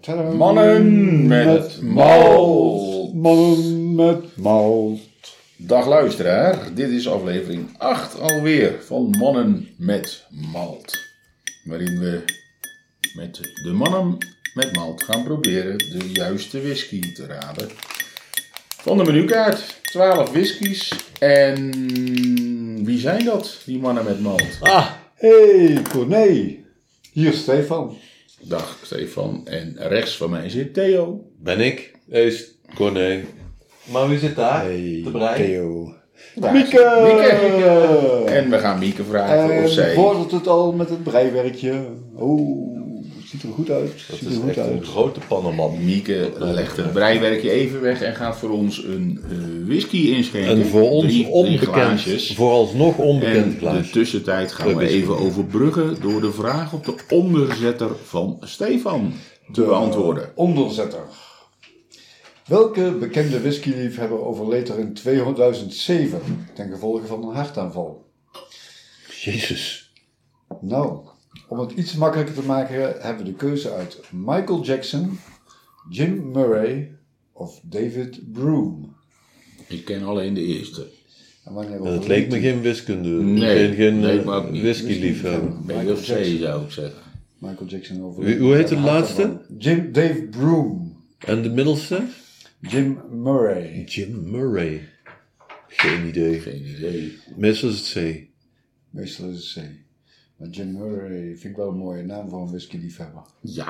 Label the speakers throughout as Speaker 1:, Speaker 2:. Speaker 1: Tada.
Speaker 2: Mannen met malt.
Speaker 1: Mannen met malt.
Speaker 2: Dag luisteraar, dit is aflevering 8 alweer van Mannen met Malt. Waarin we met de mannen met malt gaan proberen de juiste whisky te raden. Van de menukaart, 12 whiskies en wie zijn dat, die mannen met malt?
Speaker 1: Ah, hey Corné. Hier is Stefan.
Speaker 2: Dag Stefan en rechts van mij zit Theo.
Speaker 3: Ben ik? Eus, Corné.
Speaker 4: Maar wie zit daar? de brei.
Speaker 3: Theo.
Speaker 2: Daar is
Speaker 1: Mieke!
Speaker 2: En we gaan Mieke vragen
Speaker 1: En
Speaker 2: of zij...
Speaker 1: bevordert het al met het breiwerkje. Oh, ziet er goed uit.
Speaker 4: Dat
Speaker 1: ziet er
Speaker 4: is
Speaker 1: goed
Speaker 4: echt
Speaker 1: uit.
Speaker 4: een grote pannenman.
Speaker 2: Mieke legt het breiwerkje even weg en gaat voor ons een eh, whisky inschenken.
Speaker 3: Een voor ons
Speaker 2: Drie- drie
Speaker 3: onbekend,
Speaker 2: glaasjes.
Speaker 3: vooralsnog onbekend
Speaker 2: En de
Speaker 3: glaasje.
Speaker 2: tussentijd gaan we
Speaker 3: Club whisky.
Speaker 2: even overbruggen door de vraag op de onderzetter van Stefan te beantwoorden.
Speaker 1: Onderzetter. Welke bekende whiskyliefhebber overleed er in 2007 ten gevolge van een hartaanval?
Speaker 3: Jezus.
Speaker 1: Nou, om het iets makkelijker te maken hebben we de keuze uit Michael Jackson, Jim Murray of David Broom.
Speaker 2: Ik ken alleen de eerste.
Speaker 1: En wanneer
Speaker 3: En het
Speaker 1: overleed
Speaker 3: leek me
Speaker 1: hij?
Speaker 3: geen wiskunde.
Speaker 2: Nee,
Speaker 3: geen geen
Speaker 2: leek
Speaker 3: eh,
Speaker 2: me ook niet.
Speaker 3: whisky-liefhebber.
Speaker 2: B
Speaker 1: Michael
Speaker 2: of C
Speaker 1: Jackson.
Speaker 2: zou ik zeggen.
Speaker 1: Michael Jackson
Speaker 3: Wie-
Speaker 1: overleed.
Speaker 3: Hoe heet de
Speaker 1: aan een
Speaker 3: laatste?
Speaker 1: hartaanval. Jim, Dave Broom.
Speaker 3: En de middelste?
Speaker 1: Jim Murray.
Speaker 3: Jim Murray. Geen idee.
Speaker 2: Geen idee.
Speaker 3: Meestal is het C.
Speaker 1: Meestal is het C. Maar Jim Murray vind ik wel een mooie naam voor een whiskyliefhebber.
Speaker 2: Ja,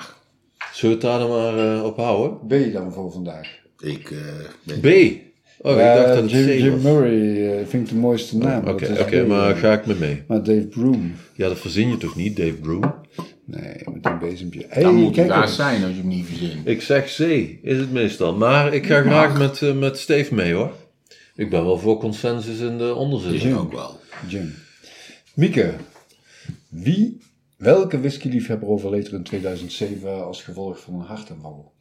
Speaker 3: Zullen we het daar dan maar eh, op houden?
Speaker 1: B dan voor vandaag.
Speaker 2: ik eh, ben
Speaker 3: B. Oh, ik dacht
Speaker 1: Eh,
Speaker 3: dat het
Speaker 1: Jim,
Speaker 3: C
Speaker 1: Jim
Speaker 3: was. Oh,
Speaker 1: Murray eh, vind ik de mooiste naam.
Speaker 3: Oké,
Speaker 1: Dat is
Speaker 3: oké,
Speaker 1: B.
Speaker 3: maar ga ik mee mee.
Speaker 1: Maar Dave Broom.
Speaker 3: Ja, dat verzin je toch niet, Dave Broom?
Speaker 1: Nee, met een bezempje. Hey,
Speaker 2: Dan moet hij
Speaker 1: kijk
Speaker 2: daar
Speaker 1: eens.
Speaker 2: zijn als je hem niet verzint.
Speaker 3: Ik zeg C, is het meestal. Maar ik ga graag met, eh, met Steve mee hoor. Ik ben wel voor consensus in de
Speaker 2: Is
Speaker 3: onderzitting.
Speaker 2: het ook wel.
Speaker 1: Jim. Mieke, wie, welke whiskyliefhebber overleed er in 2007 als gevolg van een hartaanval?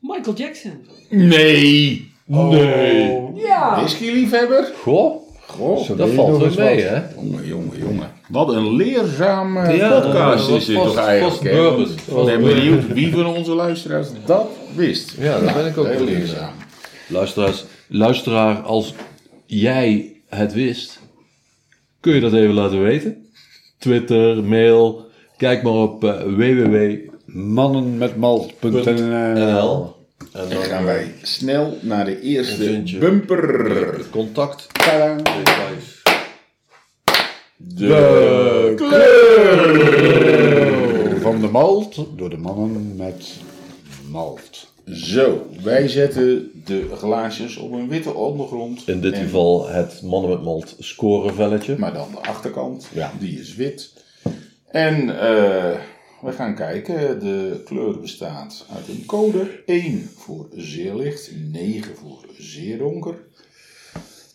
Speaker 5: Michael Jackson.
Speaker 2: Nee!
Speaker 1: Nee.
Speaker 5: Ja.
Speaker 2: Whisky-liefhebber?
Speaker 3: Goh,
Speaker 2: Goh.
Speaker 1: Zo
Speaker 3: dat
Speaker 1: weet
Speaker 3: valt
Speaker 1: nog
Speaker 3: wel
Speaker 1: eens
Speaker 3: mee
Speaker 1: wat.
Speaker 3: hè.
Speaker 2: Jongen, jongen, jongen. Wat een leerzame
Speaker 3: Ja,
Speaker 2: podcast
Speaker 3: dat
Speaker 2: is dit
Speaker 3: was
Speaker 2: toch
Speaker 3: vast-
Speaker 2: eigenlijk.
Speaker 3: vast
Speaker 2: hè?
Speaker 3: bourbon.
Speaker 2: Want
Speaker 3: Vast
Speaker 2: Ik ben
Speaker 3: bourbon.
Speaker 2: benieuwd wie van onze luisteraars dat wist.
Speaker 3: Ja, daar ben ik ook
Speaker 2: Heel
Speaker 3: wel
Speaker 2: leerzaam.
Speaker 3: Luisteraars, luisteraar, als jij het wist, kun je dat even laten weten. Twitter, mail, kijk maar op eh,
Speaker 1: Mannenmetmalt.nl
Speaker 3: www.nl. En
Speaker 2: Dan gaan wij snel naar de eerste
Speaker 3: Vincentje.
Speaker 2: bumper.
Speaker 3: het contact
Speaker 1: Tadaa.
Speaker 3: details.
Speaker 2: De
Speaker 1: Van de malt door de mannen met malt.
Speaker 2: Zo, wij zetten de glaasjes op een witte ondergrond.
Speaker 3: In dit
Speaker 2: En-
Speaker 3: geval het mannen met malt scorenvelletje.
Speaker 2: Maar dan de achterkant,
Speaker 3: Ja.
Speaker 2: die is wit. En eh, we gaan kijken. De kleur bestaat uit een code. 1 voor zeer licht, 9 voor zeer donker.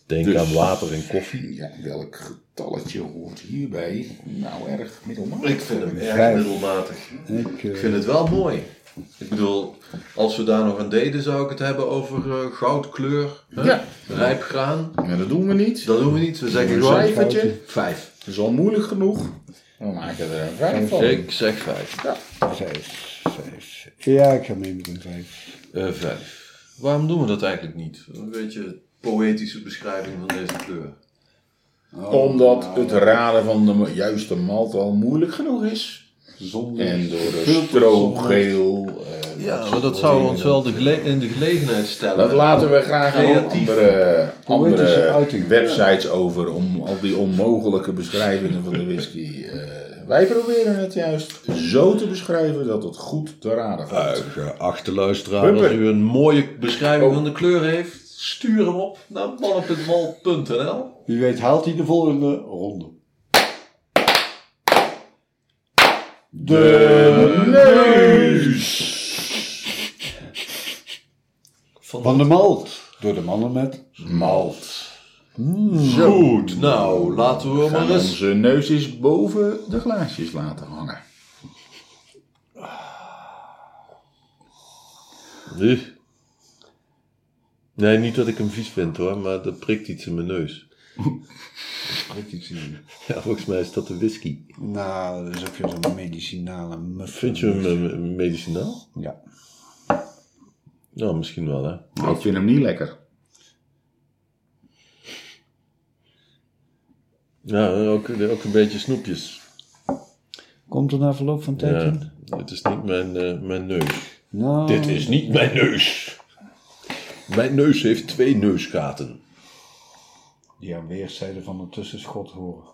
Speaker 3: Denk
Speaker 2: Dus-
Speaker 3: aan water en koffie.
Speaker 2: Ja, welk getalletje hoort hierbij? Nou, erg middelmatig.
Speaker 3: Ik vind hem erg
Speaker 1: Vijf.
Speaker 3: middelmatig.
Speaker 1: Ik, eh,
Speaker 3: Ik vind het wel mooi. Ik bedoel, als we daar nog aan deden, zou ik het hebben over eh, goudkleur, hè?
Speaker 2: Ja.
Speaker 3: rijpgraan.
Speaker 2: Maar dat doen we niet.
Speaker 3: Dat doen we niet. We zeggen
Speaker 2: Een
Speaker 3: gewoon
Speaker 2: cijfertje.
Speaker 3: vijf.
Speaker 2: Dat is al moeilijk genoeg. We maken er een vijf van.
Speaker 3: Ik zeg vijf.
Speaker 1: Vijf, vijf. Ja, ik ga mee met een vijf.
Speaker 3: Eh, vijf. Waarom doen we dat eigenlijk niet? Een beetje poëtische beschrijving van deze kleur.
Speaker 2: Omdat het raden van de juiste malt al moeilijk genoeg is.
Speaker 1: Zonder
Speaker 2: En door de strogeel. eh,
Speaker 3: Ja, maar dat zou ons wel de gele- in de gelegenheid stellen.
Speaker 2: Dat laten we graag aan
Speaker 3: Creatief.
Speaker 2: andere,
Speaker 1: Poëtische
Speaker 2: andere
Speaker 1: uiting.
Speaker 2: websites over. Om al die onmogelijke beschrijvingen van de whisky. eh, wij proberen het juist zo te beschrijven dat het goed te raden valt.
Speaker 3: Geachte eh, luisteraar,
Speaker 2: Bumper.
Speaker 3: als u een mooie beschrijving van de kleur heeft, stuur hem op naar mannen.mal.nl.
Speaker 1: Wie weet haalt hij de volgende ronde. De neus van de malt. Door de mannen met.
Speaker 2: Malt.
Speaker 1: Hmm.
Speaker 3: Goed, nou laten we maar
Speaker 2: En
Speaker 3: eens.
Speaker 2: onze neus is boven de glaasjes laten hangen.
Speaker 3: Nee, niet dat ik hem vies vind hoor, maar dat prikt iets in mijn neus.
Speaker 1: Weet ik niet.
Speaker 3: Ja, volgens mij is dat de whisky.
Speaker 1: Nou, dat is ook weer zo'n medicinale muffin.
Speaker 3: Vind je hem eh, medicinaal?
Speaker 1: Ja.
Speaker 3: Ja, misschien wel, hè.
Speaker 2: Maar ik vind hem niet lekker.
Speaker 3: Ja, ook, ook een beetje snoepjes.
Speaker 1: Komt er na verloop van tijd
Speaker 3: Ja,
Speaker 1: in?
Speaker 3: het is niet mijn, eh, mijn neus.
Speaker 1: Nou,
Speaker 3: Dit is niet mijn neus. Mijn neus heeft twee neusgaten.
Speaker 1: Die aan weerszijden van het tussenschot horen.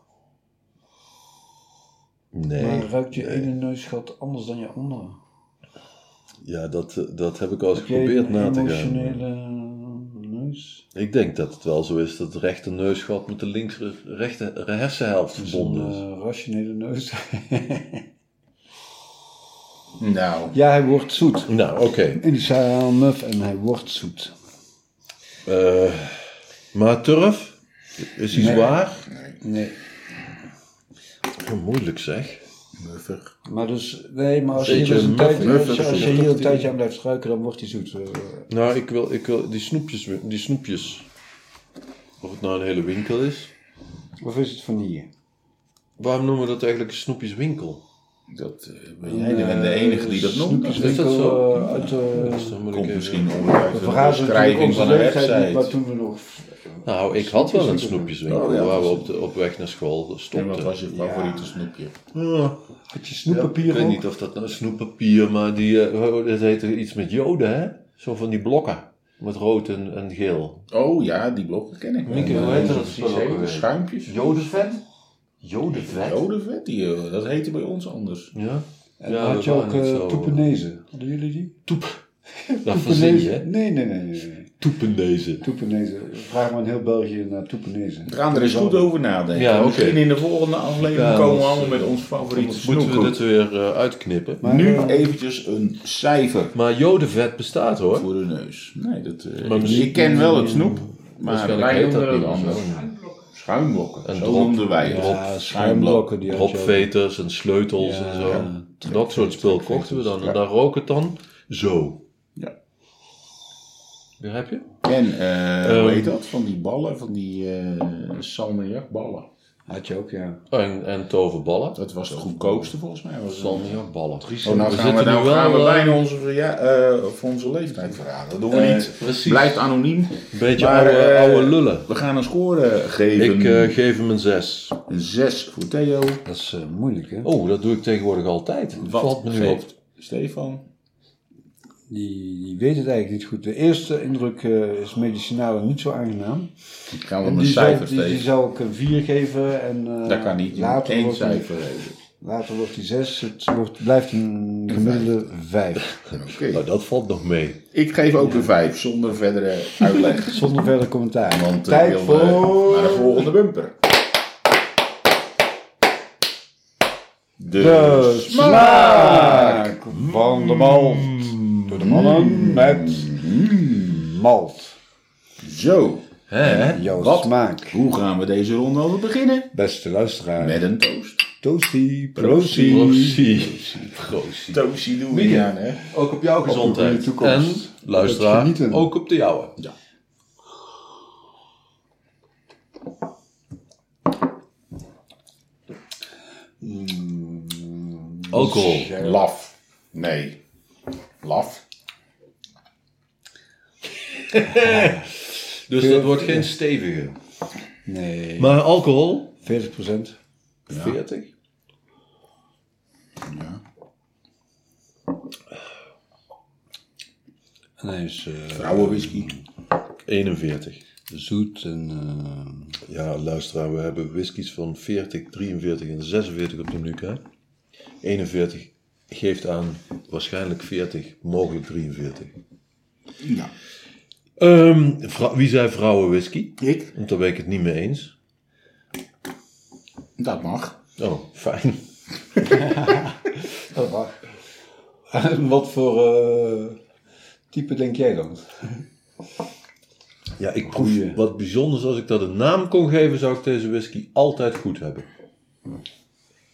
Speaker 3: Nee.
Speaker 1: maar ruikt je ene neusgat anders dan je andere?
Speaker 3: Ja, dat, eh, dat heb ik al eens
Speaker 1: Heb jij
Speaker 3: geprobeerd
Speaker 1: een
Speaker 3: na te gaan. eh,
Speaker 1: emotionele neus?
Speaker 3: Ik denk dat het wel zo is dat het rechter neusgat met de linkse rechter hersenhelft verbonden is.
Speaker 1: Een eh, rationele neus.
Speaker 2: Nou,
Speaker 1: ja, hij wordt zoet.
Speaker 3: Nou, oké.
Speaker 1: In de salmuf en hij wordt zoet.
Speaker 3: Eh, maar turf? Is hij zwaar?
Speaker 1: Nee.
Speaker 3: Zo moeilijk zeg.
Speaker 2: muffig.
Speaker 1: Maar dus, nee, maar als je, hier
Speaker 3: Beetje
Speaker 1: dus een
Speaker 3: muffig,
Speaker 1: tijdje, als,
Speaker 2: muffig,
Speaker 1: je- als je
Speaker 2: zoet.
Speaker 1: hier een tijdje aan blijft ruiken, dan wordt hij zoet. Eh,
Speaker 3: Nou, ik wil, ik wil die snoepjes, weer- die snoepjes, of het nou een hele winkel is.
Speaker 1: Of is het vanille?
Speaker 3: Waarom noemen we dat eigenlijk een snoepjeswinkel?
Speaker 2: Dat eh, ben jij de, de enige die dat noemt.
Speaker 1: Snoepjes
Speaker 3: Is dat
Speaker 1: winkel,
Speaker 3: zo?
Speaker 1: eh, uit
Speaker 3: Dus
Speaker 1: de...
Speaker 3: dan moet ik
Speaker 2: Komt
Speaker 3: even-
Speaker 2: misschien onderuit
Speaker 1: We
Speaker 2: de
Speaker 1: verrazen natuurlijk
Speaker 2: beschrijving van
Speaker 1: onze
Speaker 2: een
Speaker 1: leeftijd niet, maar
Speaker 2: website.
Speaker 1: toen we nog...
Speaker 3: Nou, ik had wel een
Speaker 1: Snoepjeswinkel.
Speaker 3: snoepjeswinkel
Speaker 2: Oh, ja,
Speaker 3: waar we
Speaker 2: dat is-
Speaker 3: op, de, op weg naar school
Speaker 2: En wat
Speaker 3: stopten.
Speaker 2: was je favoriete snoepje?
Speaker 3: Ja.
Speaker 1: Had je snoeppapier
Speaker 3: Ik weet
Speaker 1: ook?
Speaker 3: niet of dat nou snoeppapier, maar die, eh, oh, dat heette iets met joden, hè? Zo van die blokken. Met rood en, en geel.
Speaker 2: Oh ja, die blokken ken ik. wel.
Speaker 3: Mieke, hoe
Speaker 2: Eh,
Speaker 3: heette dat
Speaker 2: precies,
Speaker 3: spul ook
Speaker 2: hè? De
Speaker 3: alweer?
Speaker 2: schuimpjes.
Speaker 4: Jodenvet? Jodenvet?
Speaker 2: Jodenvet, die, eh, dat heette bij ons anders.
Speaker 3: Ja?
Speaker 1: En
Speaker 3: Ja,
Speaker 1: had
Speaker 3: dat
Speaker 1: je
Speaker 3: waren
Speaker 1: ook
Speaker 3: niet
Speaker 1: eh,
Speaker 3: zo-
Speaker 1: toepenezen? Hadden jullie die?
Speaker 3: Toep. Dat verzin je, hè?
Speaker 1: Nee, nee, nee. nee, nee.
Speaker 3: Toependezen.
Speaker 1: Toepenezen. Vraag maar in heel België naar toepenezen.
Speaker 2: We gaan er eens goed over nadenken.
Speaker 3: Ja, oké.
Speaker 2: Misschien in de volgende aflevering
Speaker 3: Ja,
Speaker 2: komen we
Speaker 3: anders,
Speaker 2: allemaal
Speaker 3: eh,
Speaker 2: met ons favoriete
Speaker 3: Anders moeten we
Speaker 2: snoepgoed.
Speaker 3: dit weer eh, uitknippen.
Speaker 1: Maar,
Speaker 2: Nu
Speaker 1: eh,
Speaker 2: eventjes een cijfer
Speaker 3: Maar jodenvet bestaat hoor.
Speaker 2: voor de neus. Nee, dat, eh,
Speaker 3: Maar
Speaker 2: ik,
Speaker 3: misschien-
Speaker 2: ik ken wel het snoep, maar
Speaker 3: Waarschijnlijk
Speaker 2: wij
Speaker 3: heet dat
Speaker 2: noemen het
Speaker 3: niet
Speaker 2: anders.
Speaker 3: zo.
Speaker 2: Schuimblokken,
Speaker 3: Een
Speaker 2: zo
Speaker 3: drop.
Speaker 2: noemden wij het.
Speaker 1: Ja, schuimblokken die had je ook.
Speaker 3: Propveters en sleutels
Speaker 1: Ja,
Speaker 3: en zo.
Speaker 1: ja.
Speaker 3: dat soort spul kochten we dan. En
Speaker 2: ja.
Speaker 3: daar rook het dan zo.
Speaker 2: Ja.
Speaker 3: Begrijp je?
Speaker 2: En eh hoe
Speaker 3: Ehm.
Speaker 2: heet dat? Van die ballen, van die eh salmiakballen.
Speaker 1: Had je ook, ja.
Speaker 3: Oh, En, en toverballen.
Speaker 2: Dat was de goedkoopste volgens mij. Was het.
Speaker 3: Salmiakballen.
Speaker 2: Oh, nou
Speaker 3: We
Speaker 2: gaan we,
Speaker 3: zitten
Speaker 2: nou
Speaker 3: nu wel,
Speaker 2: gaan we
Speaker 3: eh,
Speaker 2: bijna onze, verja- eh, of onze leeftijd verraden. Dat doen we
Speaker 3: Eh,
Speaker 2: niet.
Speaker 3: precies.
Speaker 2: Blijft anoniem.
Speaker 3: Een beetje
Speaker 2: Maar,
Speaker 3: oude,
Speaker 2: eh,
Speaker 3: oude lullen.
Speaker 2: We gaan een score geven.
Speaker 3: Ik eh, geef hem een 6.
Speaker 2: Een 6 voor Theo.
Speaker 1: Dat is eh, moeilijk, hè?
Speaker 3: Oh, dat doe ik tegenwoordig altijd. Valt me nu op.
Speaker 2: geeft Stefan.
Speaker 1: Die, die weet het eigenlijk niet goed. De eerste indruk eh, is medicinale niet zo aangenaam.
Speaker 2: Gaan
Speaker 1: En
Speaker 2: we hem een
Speaker 1: die,
Speaker 2: cijfer
Speaker 1: zou, die, die
Speaker 2: geven?
Speaker 1: zou ik een 4 geven. En, eh,
Speaker 2: Dat kan niet. Je moet
Speaker 1: Later
Speaker 2: één
Speaker 1: wordt, die,
Speaker 2: cijfer geven.
Speaker 1: later wordt die 6. Het wordt, blijft een gemiddelde 5.
Speaker 2: Oké.
Speaker 3: Nou, dat valt nog mee.
Speaker 2: Ik geef ook een 5 zonder verdere uitleg.
Speaker 1: Zonder verder commentaar.
Speaker 2: Want eh,
Speaker 1: Tijd
Speaker 2: wil, eh,
Speaker 1: voor
Speaker 2: naar de volgende bumper. Dus.
Speaker 1: de smaak van de malt. Door de mannen met malt.
Speaker 2: Zo.
Speaker 3: Hè?
Speaker 1: Jouw
Speaker 2: Wat?
Speaker 1: smaak.
Speaker 2: Hoe gaan we deze ronde over beginnen?
Speaker 1: Beste luisteraar.
Speaker 2: Met een toast.
Speaker 1: Toasty,
Speaker 3: Prozie. Prozie.
Speaker 2: Toastie doen we niet aan, hè?
Speaker 3: Ook op jouw
Speaker 1: goede
Speaker 3: gezondheid. en,
Speaker 1: toekomst.
Speaker 3: luisteraar,
Speaker 1: Het genieten.
Speaker 3: ook op de jouwe.
Speaker 2: Ja.
Speaker 3: Mm. Alcohol.
Speaker 2: Laf. Nee. Laf.
Speaker 3: Dus dat wordt geen stevige.
Speaker 1: Nee,
Speaker 3: Maar alcohol?
Speaker 1: 40%.
Speaker 3: 40.
Speaker 1: En hij is eh,
Speaker 2: Vrouwenwhisky.
Speaker 3: 41.
Speaker 1: zoet en eh,
Speaker 3: Ja, luisteraar, we hebben whiskies van 40, 43 en 46 op de menu. Hè? 41 geeft aan waarschijnlijk 40, mogelijk 43.
Speaker 2: Ja.
Speaker 3: Ehm, vrou- wie zei vrouwenwhisky?
Speaker 2: Ik?
Speaker 3: Want daar ben ik het niet mee eens.
Speaker 2: Dat mag.
Speaker 3: Oh, fijn.
Speaker 1: dat mag. En wat voor eh, type denk jij dan?
Speaker 3: Ja, ik proef
Speaker 1: Goeie.
Speaker 3: wat bijzonders. Als ik dat een naam kon geven, zou ik deze whisky altijd goed hebben.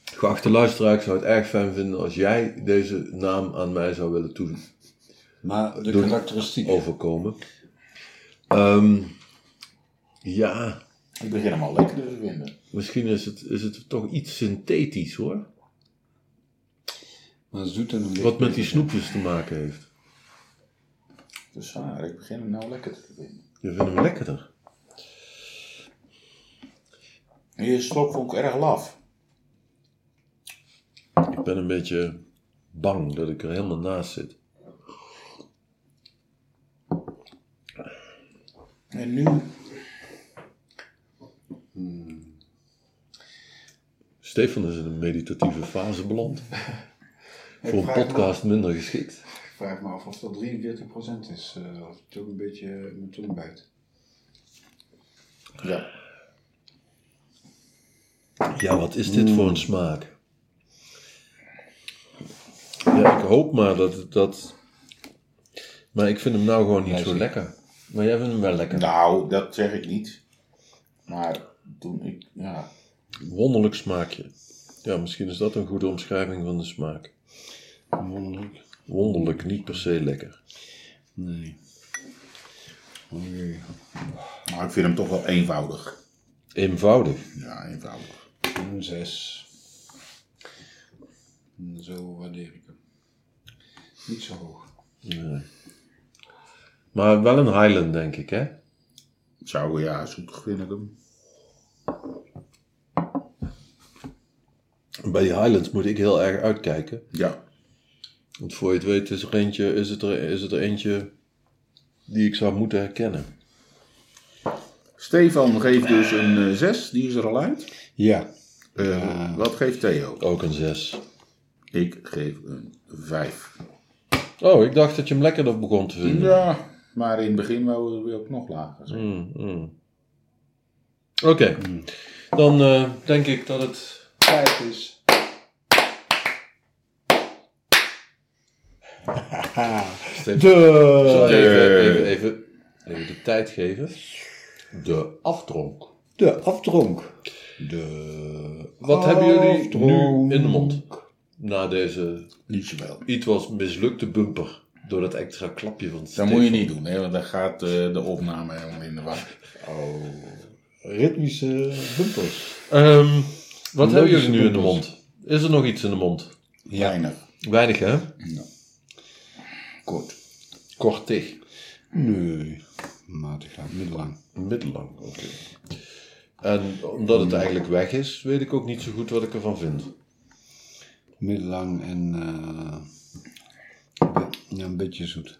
Speaker 3: Geachte luisteraar, ik zou het erg fijn vinden als jij deze naam aan mij zou willen toevoegen.
Speaker 1: Maar de
Speaker 3: Doe- Oh.
Speaker 1: karakteristiek.
Speaker 3: overkomen. Ehm, ja,
Speaker 2: Ik begin hem al lekker te vinden.
Speaker 3: misschien is het, is het toch iets synthetisch hoor.
Speaker 1: Maar zoet en licht.
Speaker 3: Wat met die snoepjes te maken heeft.
Speaker 2: te zwaar. Ik begin hem nou lekker te vinden.
Speaker 3: Je vindt hem lekkerder.
Speaker 2: De eerste slok vond ik erg laf.
Speaker 3: Ik ben een beetje bang dat ik er helemaal naast zit.
Speaker 2: En nu?
Speaker 3: Stefan is in een meditatieve fase beland. Voor een
Speaker 1: vraag me-
Speaker 3: podcast minder geschikt.
Speaker 1: Ik vraag me af of dat 43% is. eh, of het ook een beetje eh, mijn tong bijt.
Speaker 2: Ja.
Speaker 3: Ja, wat is dit voor een smaak? Ja, ik hoop maar dat, dat... Maar ik vind hem nou gewoon niet zo lekker. Maar jij vindt hem wel lekker.
Speaker 2: Nou, dat zeg ik niet. Maar toen ik, ja.
Speaker 3: Wonderlijk smaakje. Ja, misschien is dat een goede omschrijving van de smaak.
Speaker 4: Wonderlijk.
Speaker 3: Wonderlijk, niet per se lekker.
Speaker 4: Nee. Oké.
Speaker 2: Maar ik vind hem toch wel eenvoudig.
Speaker 3: Eenvoudig.
Speaker 2: Ja, eenvoudig.
Speaker 1: Een 6. Zo waardeer ik hem. Niet zo hoog.
Speaker 3: Ja. Maar wel een Highland, denk ik, hè?
Speaker 2: Zou, ja, zoetig vind ik hem.
Speaker 3: Bij die Highlands moet ik heel erg uitkijken.
Speaker 2: Ja.
Speaker 3: Want voor je het weet is er eentje, is het er, is het er eentje die ik zou moeten herkennen.
Speaker 2: Stefan geeft dus een 6, die is er al uit.
Speaker 4: Ja.
Speaker 2: Eh, Wat geeft Theo?
Speaker 3: Ook een 6.
Speaker 2: Ik geef een 5.
Speaker 3: Oh, ik dacht dat je hem lekkerder begon te vinden.
Speaker 2: Ja, maar in het begin wou we ook nog lager zijn.
Speaker 3: Mm, mm. Oké, dan eh, denk ik dat het...
Speaker 1: Vijf is.
Speaker 3: Stefan, zal
Speaker 4: De,
Speaker 3: ik even, even, even, even de tijd geven. De aftronk.
Speaker 4: de aftronk.
Speaker 3: De... Wat hebben jullie nu in de mond? Na deze
Speaker 2: Niet zoveel.
Speaker 3: iets was mislukte bumper. Door dat extra klapje van
Speaker 2: Dat moet je niet doen, hè, want dan gaat eh, de opname helemaal in de war. Oh.
Speaker 4: Ritmische bumpers.
Speaker 3: Ehm, wat
Speaker 4: Logische
Speaker 3: hebben jullie nu in de
Speaker 4: bumpers.
Speaker 3: mond? Is er nog iets in de mond?
Speaker 2: Weinig.
Speaker 3: Weinig, hè?
Speaker 4: Kort.
Speaker 3: Kortig.
Speaker 4: Nee. Matig lang, middellang.
Speaker 3: Middellang, oké. En omdat het eigenlijk weg is, weet ik ook niet zo goed wat ik ervan vind.
Speaker 4: Middellang en eh, een be- ja, een beetje zoet.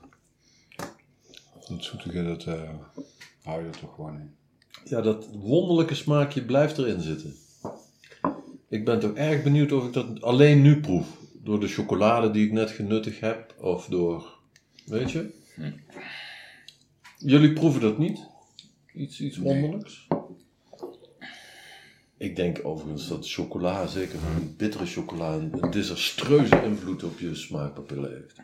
Speaker 1: Dat zoetige, dat eh, hou je er toch gewoon in.
Speaker 3: Ja, dat wonderlijke smaakje blijft erin zitten. Ik ben toch erg benieuwd of ik dat alleen nu proef. Door de chocolade die ik net genuttigd heb, of door... Weet je? Jullie proeven dat niet? Iets, iets wonderlijks? Ik denk overigens dat chocola, zeker van die bittere chocola, een een desastreuze invloed op je smaakpapillen heeft.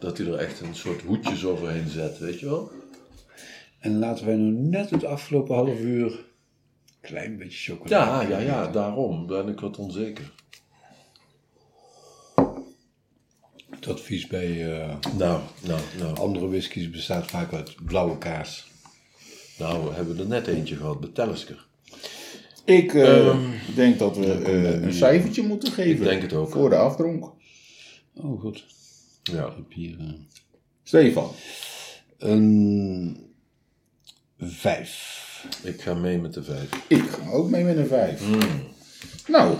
Speaker 3: Dat hij er echt een soort hoedjes overheen zet, weet je wel?
Speaker 4: En laten wij nu net het afgelopen half uur een klein beetje chocola.
Speaker 3: Ja, ja, ja, daarom ben ik wat onzeker.
Speaker 4: Het advies bij eh,
Speaker 3: Nou, nou, nou.
Speaker 4: andere whiskies bestaat vaak uit blauwe kaas.
Speaker 3: Nou, we hebben er net eentje gehad bij Tellisker.
Speaker 2: Ik eh, denk dat we eh, een cijfertje moeten geven.
Speaker 3: Ik denk het ook.
Speaker 2: Voor de afdronk.
Speaker 4: Oh, goed.
Speaker 3: Ja.
Speaker 4: Ik heb hier eh,
Speaker 2: Stefan.
Speaker 4: een vijf.
Speaker 3: Ik ga mee met de vijf.
Speaker 2: Ik ga ook mee met een 5. Nou,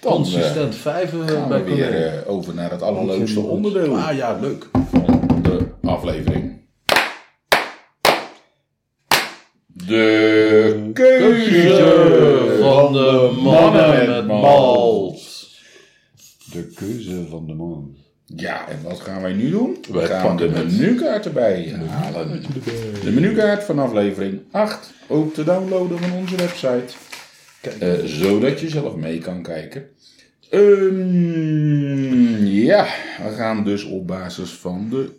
Speaker 2: dan eh,
Speaker 3: Consistent vijven eh,
Speaker 2: gaan
Speaker 3: bij
Speaker 2: we weer
Speaker 3: Corné.
Speaker 2: eh, over naar het allerleukste onderdeel
Speaker 3: Ah ja, leuk.
Speaker 2: van de aflevering. De keuze
Speaker 3: Van de mannen met malt.
Speaker 4: De keuze van de man.
Speaker 2: Ja, en wat gaan wij nu doen? We
Speaker 3: Wij
Speaker 2: gaan de
Speaker 3: pakken het.
Speaker 2: menukaart erbij halen. De menukaart van aflevering 8, ook te downloaden van onze website. Eh, zodat je zelf mee kan kijken. Ehm, ja, we gaan dus op basis van de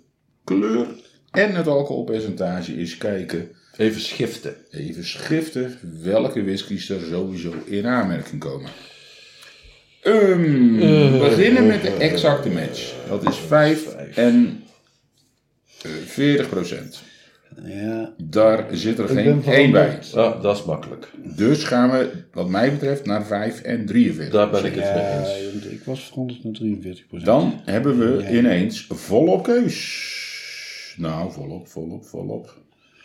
Speaker 2: kleur en het alcoholpercentage eens kijken.
Speaker 3: Even schiften.
Speaker 2: Even schriften welke whiskies er sowieso in aanmerking komen. Ehm,
Speaker 3: Eh.
Speaker 2: we beginnen met de exacte match. Dat is 5 en eh, 40 procent.
Speaker 4: Ja,
Speaker 2: Daar zit er geen
Speaker 4: ben van
Speaker 2: 1
Speaker 4: de-
Speaker 2: bij.
Speaker 3: Ah, dat is makkelijk.
Speaker 2: Dus gaan we, wat mij betreft, naar 5 en 43.
Speaker 3: Daar ben ik
Speaker 1: eh,
Speaker 3: het mee
Speaker 4: ja
Speaker 3: eens.
Speaker 4: want ik was veranderd naar 43 procent.
Speaker 2: Dan hebben we ineens volop keus. Nou, volop, volop, volop.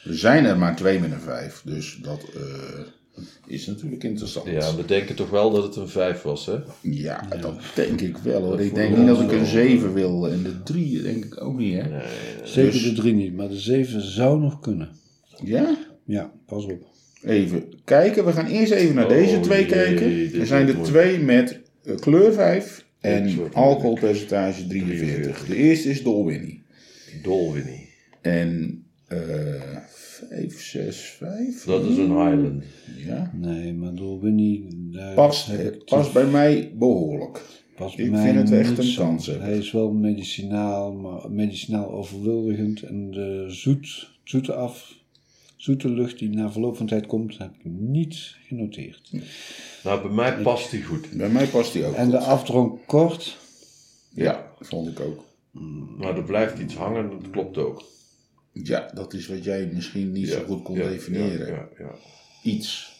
Speaker 2: Er zijn er maar twee met een vijf, dus dat eh, is natuurlijk interessant.
Speaker 3: Ja, we denken toch wel dat het een 5 was, hè?
Speaker 2: Ja, dat denk ik wel hoor. Ik denk niet dat ik een
Speaker 3: eh,
Speaker 2: 7 wil en de 3 denk ik ook niet hè.
Speaker 1: Zeker de drie niet, maar de zeven zou nog kunnen.
Speaker 2: Ja?
Speaker 1: Ja, pas op.
Speaker 2: Even kijken. We gaan eerst even naar deze twee
Speaker 3: Oh, jee, dit
Speaker 2: kijken. Er
Speaker 3: wordt
Speaker 2: zijn er
Speaker 3: mooi.
Speaker 2: twee met eh, kleur 5
Speaker 3: Dit
Speaker 2: en
Speaker 3: wordt
Speaker 2: alcoholpercentage 43. De eerste is Dolwinnie.
Speaker 3: Dolwinnie.
Speaker 2: En eh 5, 6, 5.
Speaker 3: Dat is een Highland.
Speaker 2: Ja.
Speaker 1: Nee, maar Dolwini, daar
Speaker 2: Past, eh,
Speaker 1: heb ik
Speaker 2: past bij mij behoorlijk.
Speaker 1: Pas
Speaker 2: Ik
Speaker 1: mij
Speaker 2: vind het echt
Speaker 1: niet
Speaker 2: een
Speaker 1: zo.
Speaker 2: kans hebben.
Speaker 1: Hij is wel medicinaal, maar medicinaal overweldigend. En de zoet, zoete af, zoete lucht die na verloop van tijd komt, heb ik niet genoteerd.
Speaker 3: Nou, bij mij past die goed.
Speaker 2: Bij mij past die ook.
Speaker 1: En de afdronk kort,
Speaker 2: Ja, vond ik ook.
Speaker 3: Maar er blijft iets hangen, dat klopt ook.
Speaker 2: Ja, dat is wat jij misschien niet zo goed kon
Speaker 3: Ja,
Speaker 2: definiëren.
Speaker 3: Ja, ja,
Speaker 2: Iets.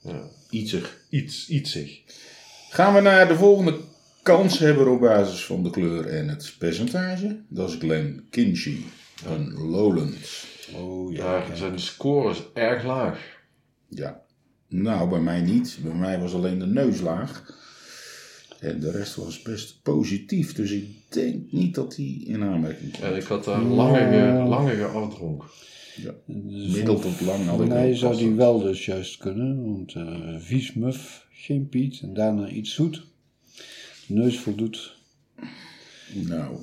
Speaker 3: ja.
Speaker 2: Ietsig.
Speaker 3: Iets, ietsig.
Speaker 2: Gaan we naar de volgende kanshebber op basis van de kleur en het percentage. Dat is Glen Kinchy, een Lowland.
Speaker 1: oh ja,
Speaker 3: Daar zijn de scores erg laag.
Speaker 2: Ja. Nou, bij mij niet. Bij mij was alleen de neus laag. En de rest was best positief. Dus ik denk niet dat die in aanmerking komt.
Speaker 3: En ik had daar een langere, langere afdronk.
Speaker 2: Middel tot lang had
Speaker 1: voor
Speaker 2: ik
Speaker 1: mij
Speaker 2: ook
Speaker 1: zou
Speaker 2: pas
Speaker 1: die
Speaker 2: dat.
Speaker 1: wel dus juist kunnen. Want eh vies muf, geen piet en daarna iets zoet. De neus voldoet.
Speaker 2: Nou,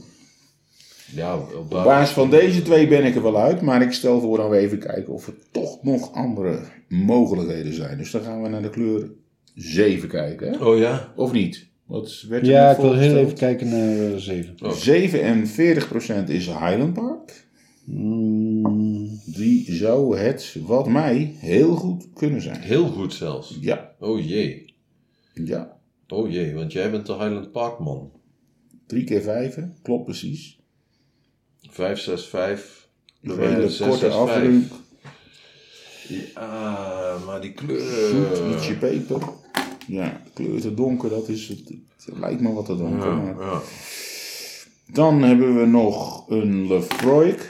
Speaker 3: Ja, op
Speaker 2: Op
Speaker 3: basis-
Speaker 2: basis van deze twee ben ik er wel uit, maar ik stel voor dat we even kijken of er toch nog andere mogelijkheden zijn. Dus dan gaan we naar de kleur 7 kijken, hè?
Speaker 3: Oh ja?
Speaker 2: of niet? Wat werd er
Speaker 1: Ja,
Speaker 2: net
Speaker 1: ik wil heel
Speaker 2: voorgesteld?
Speaker 1: even kijken naar eh, zeven.
Speaker 2: 47% is Highland Park.
Speaker 1: Mm,
Speaker 2: Die zou het, wat mij, heel goed kunnen zijn.
Speaker 3: Heel goed zelfs.
Speaker 2: Ja,
Speaker 3: Oh jee.
Speaker 2: ja.
Speaker 3: Oh jee, want jij bent de Highland Parkman.
Speaker 2: 3 keer 5, klopt precies.
Speaker 3: 5, 6, 5.
Speaker 2: Nog een hele korte afdruk.
Speaker 3: Ja, maar die
Speaker 2: Zoet,
Speaker 3: kleur...
Speaker 2: ietsje peper. Ja, kleur te donker, dat is het. het lijkt me wat te donker. maar-
Speaker 3: Ja, ja.
Speaker 2: Dan hebben we nog een Lefroik.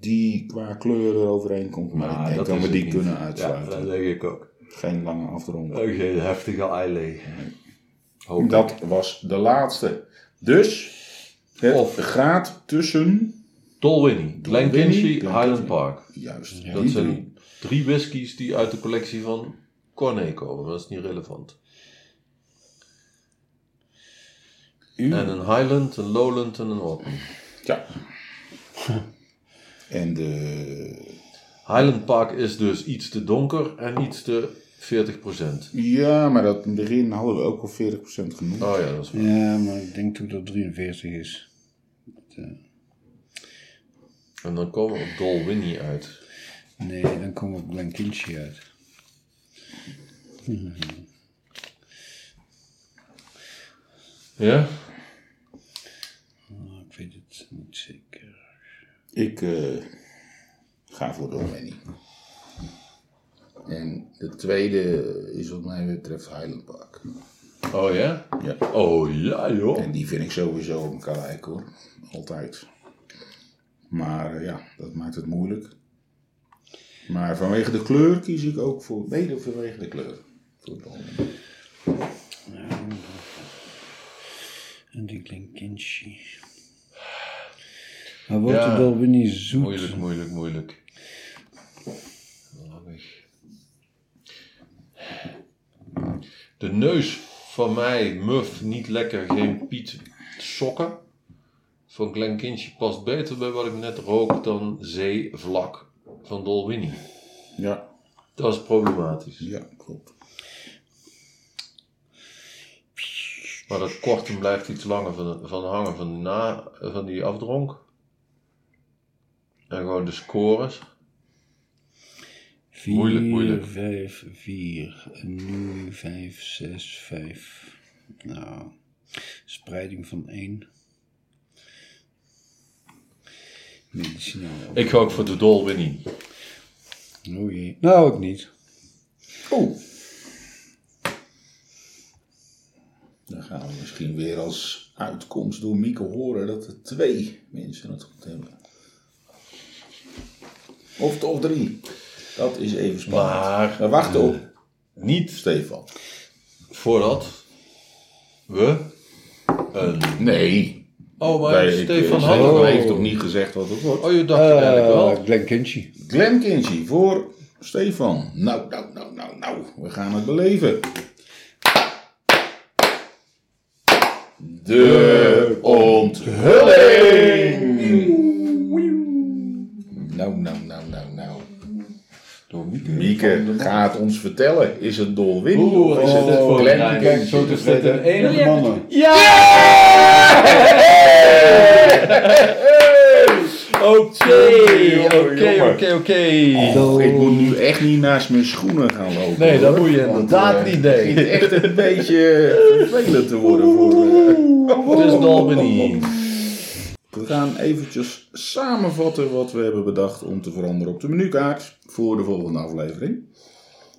Speaker 2: Die qua kleur eroverheen komt. Maar ik denk dat we
Speaker 3: Ah, is
Speaker 2: die
Speaker 3: het
Speaker 2: kunnen
Speaker 3: niet.
Speaker 2: uitsluiten.
Speaker 3: Ja, Eh, dat denk ik ook.
Speaker 2: Geen lange afdronk.
Speaker 3: Ook geen heftige eilee. Hoop ik.
Speaker 2: dat was de laatste. Dus het
Speaker 3: Of.
Speaker 2: gaat tussen.
Speaker 3: Dolwinnie, Glen
Speaker 2: Dolwinnie,
Speaker 3: Kinchy,
Speaker 2: Glen
Speaker 3: Highland
Speaker 2: Kinchy.
Speaker 3: Park.
Speaker 2: Juist.
Speaker 3: Dat zijn drie whiskies die uit de collectie van Corné komen, maar dat is niet relevant. En een Highland, een Lowland en een Orton.
Speaker 2: Ja. en de.
Speaker 3: Highland Park is dus iets te donker en iets te 40%.
Speaker 2: Ja, maar dat in het begin hadden we ook al 40% genoemd.
Speaker 3: Oh ja, dat is waar.
Speaker 1: ja, maar ik denk toch dat het 43 is.
Speaker 3: En dan komen we op Dolwinnie uit.
Speaker 1: Nee, dan komen we op Blankinsje uit.
Speaker 3: Ja?
Speaker 1: Maar ik weet het niet zeker.
Speaker 2: Ik eh, ga voor Romani. En de tweede is wat mij betreft Highland Park.
Speaker 3: Oh ja?
Speaker 2: Ja.
Speaker 3: Oh ja, joh.
Speaker 2: En die vind ik sowieso een gelijk hoor. Altijd. Maar eh, ja, dat maakt het moeilijk. Maar vanwege de kleur kies ik ook voor. Mede vanwege de kleur. Voor Romani.
Speaker 1: En die Blankinsje. Maar wordt
Speaker 3: Ja.
Speaker 1: het wel weer niet zoet?
Speaker 3: Moeilijk, moeilijk, moeilijk. Lammig. De neus van mij, muf, niet lekker, geen Piet sokken. Van Glen Kindje past beter bij wat ik net rook dan zeevlak van Dolwini.
Speaker 2: Ja,
Speaker 3: Dat is problematisch.
Speaker 2: ja, klopt.
Speaker 3: Maar dat korten blijft iets langer van, van hangen van, na, van die afdronk. En gewoon de scores.
Speaker 1: Vier,
Speaker 3: moeilijk, moeilijk.
Speaker 1: Vijf, vier. En nu vijf, zes, vijf. Nou, spreiding van één. Medicinaal.
Speaker 3: Ik ga ook voor de Dolwini.
Speaker 1: Oh jee. Nou, ik niet.
Speaker 2: Oh. Dan gaan we misschien weer als uitkomst door Mieke horen dat er twee mensen het goed hebben. Of toch drie. Dat is even spannend.
Speaker 3: Maar-
Speaker 2: We wachten op
Speaker 3: Niet
Speaker 2: Stefan.
Speaker 3: voordat we.
Speaker 2: Nee.
Speaker 3: Oh, maar
Speaker 2: Wij- ik-
Speaker 3: Stefan
Speaker 2: eh,
Speaker 3: had
Speaker 2: Stefan
Speaker 3: het
Speaker 2: heeft
Speaker 3: al.
Speaker 2: toch niet gezegd wat het wordt.
Speaker 3: Oh, je dacht het eigenlijk wel.
Speaker 4: Eh Glen Kinchy.
Speaker 2: Glen Kinsey voor Stefan. Nou, nou, nou, nou, nou. We gaan het beleven. De onthulling. Nou, nou, nou, nou, nou.
Speaker 1: Door Mieke.
Speaker 2: Mieke gaat ons vertellen. Is het dolwin?
Speaker 3: Oeh,
Speaker 2: of
Speaker 3: wat
Speaker 2: is
Speaker 3: is dit
Speaker 2: het
Speaker 3: voor
Speaker 2: Glen
Speaker 3: een
Speaker 1: Kijk, oh, zo
Speaker 2: Kinsey?
Speaker 1: te zitten.
Speaker 3: een enige
Speaker 1: Enige mannen.
Speaker 3: Oké,
Speaker 2: Jongen,
Speaker 3: oké,
Speaker 2: jongen.
Speaker 3: oké, oké.
Speaker 2: Och, Ik moet nu echt niet naast mijn schoenen gaan lopen.
Speaker 3: Nee, dat moet je
Speaker 2: Want,
Speaker 3: inderdaad
Speaker 2: eh,
Speaker 3: niet, nee.
Speaker 2: Het begint echt een beetje vervelend te worden voor... eh.
Speaker 3: Het is Dalbany.
Speaker 2: We gaan eventjes samenvatten wat we hebben bedacht om te veranderen op de menukaart voor de volgende aflevering.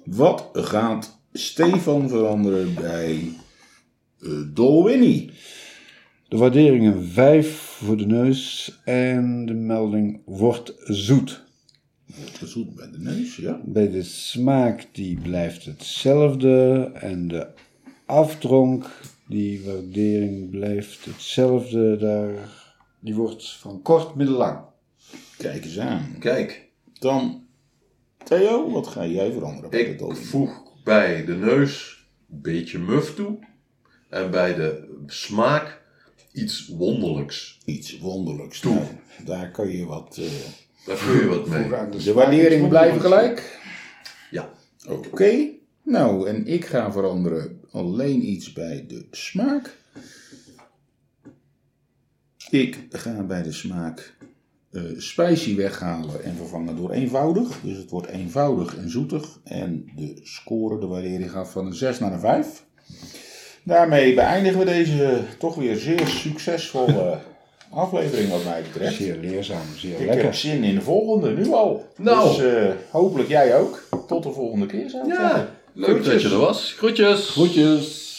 Speaker 2: Wat gaat Stefan veranderen bij eh Dolwinnie?
Speaker 4: De waardering een 5 voor de neus en de melding wordt zoet.
Speaker 2: Zoet bij de neus, ja.
Speaker 4: Bij de smaak die blijft hetzelfde en de afdronk, die waardering blijft hetzelfde. Daar,
Speaker 1: Die wordt van kort middellang.
Speaker 2: Kijk eens aan.
Speaker 3: Kijk,
Speaker 2: Dan, Theo, wat ga jij veranderen bij de
Speaker 3: ik
Speaker 2: Dolwinnie?
Speaker 3: voeg bij de neus een beetje muf toe. En bij de smaak iets wonderlijks.
Speaker 2: Iets wonderlijks. Nou, daar kan je wat... eh,
Speaker 3: Daar kun je wat mee.
Speaker 2: de waardering blijven gelijk.
Speaker 3: Ja.
Speaker 2: Oké. Nou, en ik ga veranderen alleen iets bij de smaak. Ik ga bij de smaak eh spicy weghalen en vervangen door eenvoudig. Dus het wordt eenvoudig en zoetig. En de score, de waardering gaat van een 6 naar een 5. Daarmee beëindigen we deze toch weer zeer succesvolle aflevering wat mij betreft.
Speaker 4: zeer leerzaam, zeer
Speaker 2: Ik
Speaker 4: lekker.
Speaker 1: eh,
Speaker 2: heb zin in de volgende, nu al.
Speaker 3: Nou.
Speaker 2: Dus eh, hopelijk jij ook. Tot de volgende keer zou ik zeggen.
Speaker 3: Ja, leuk dat je er was. Groetjes.
Speaker 1: Groetjes.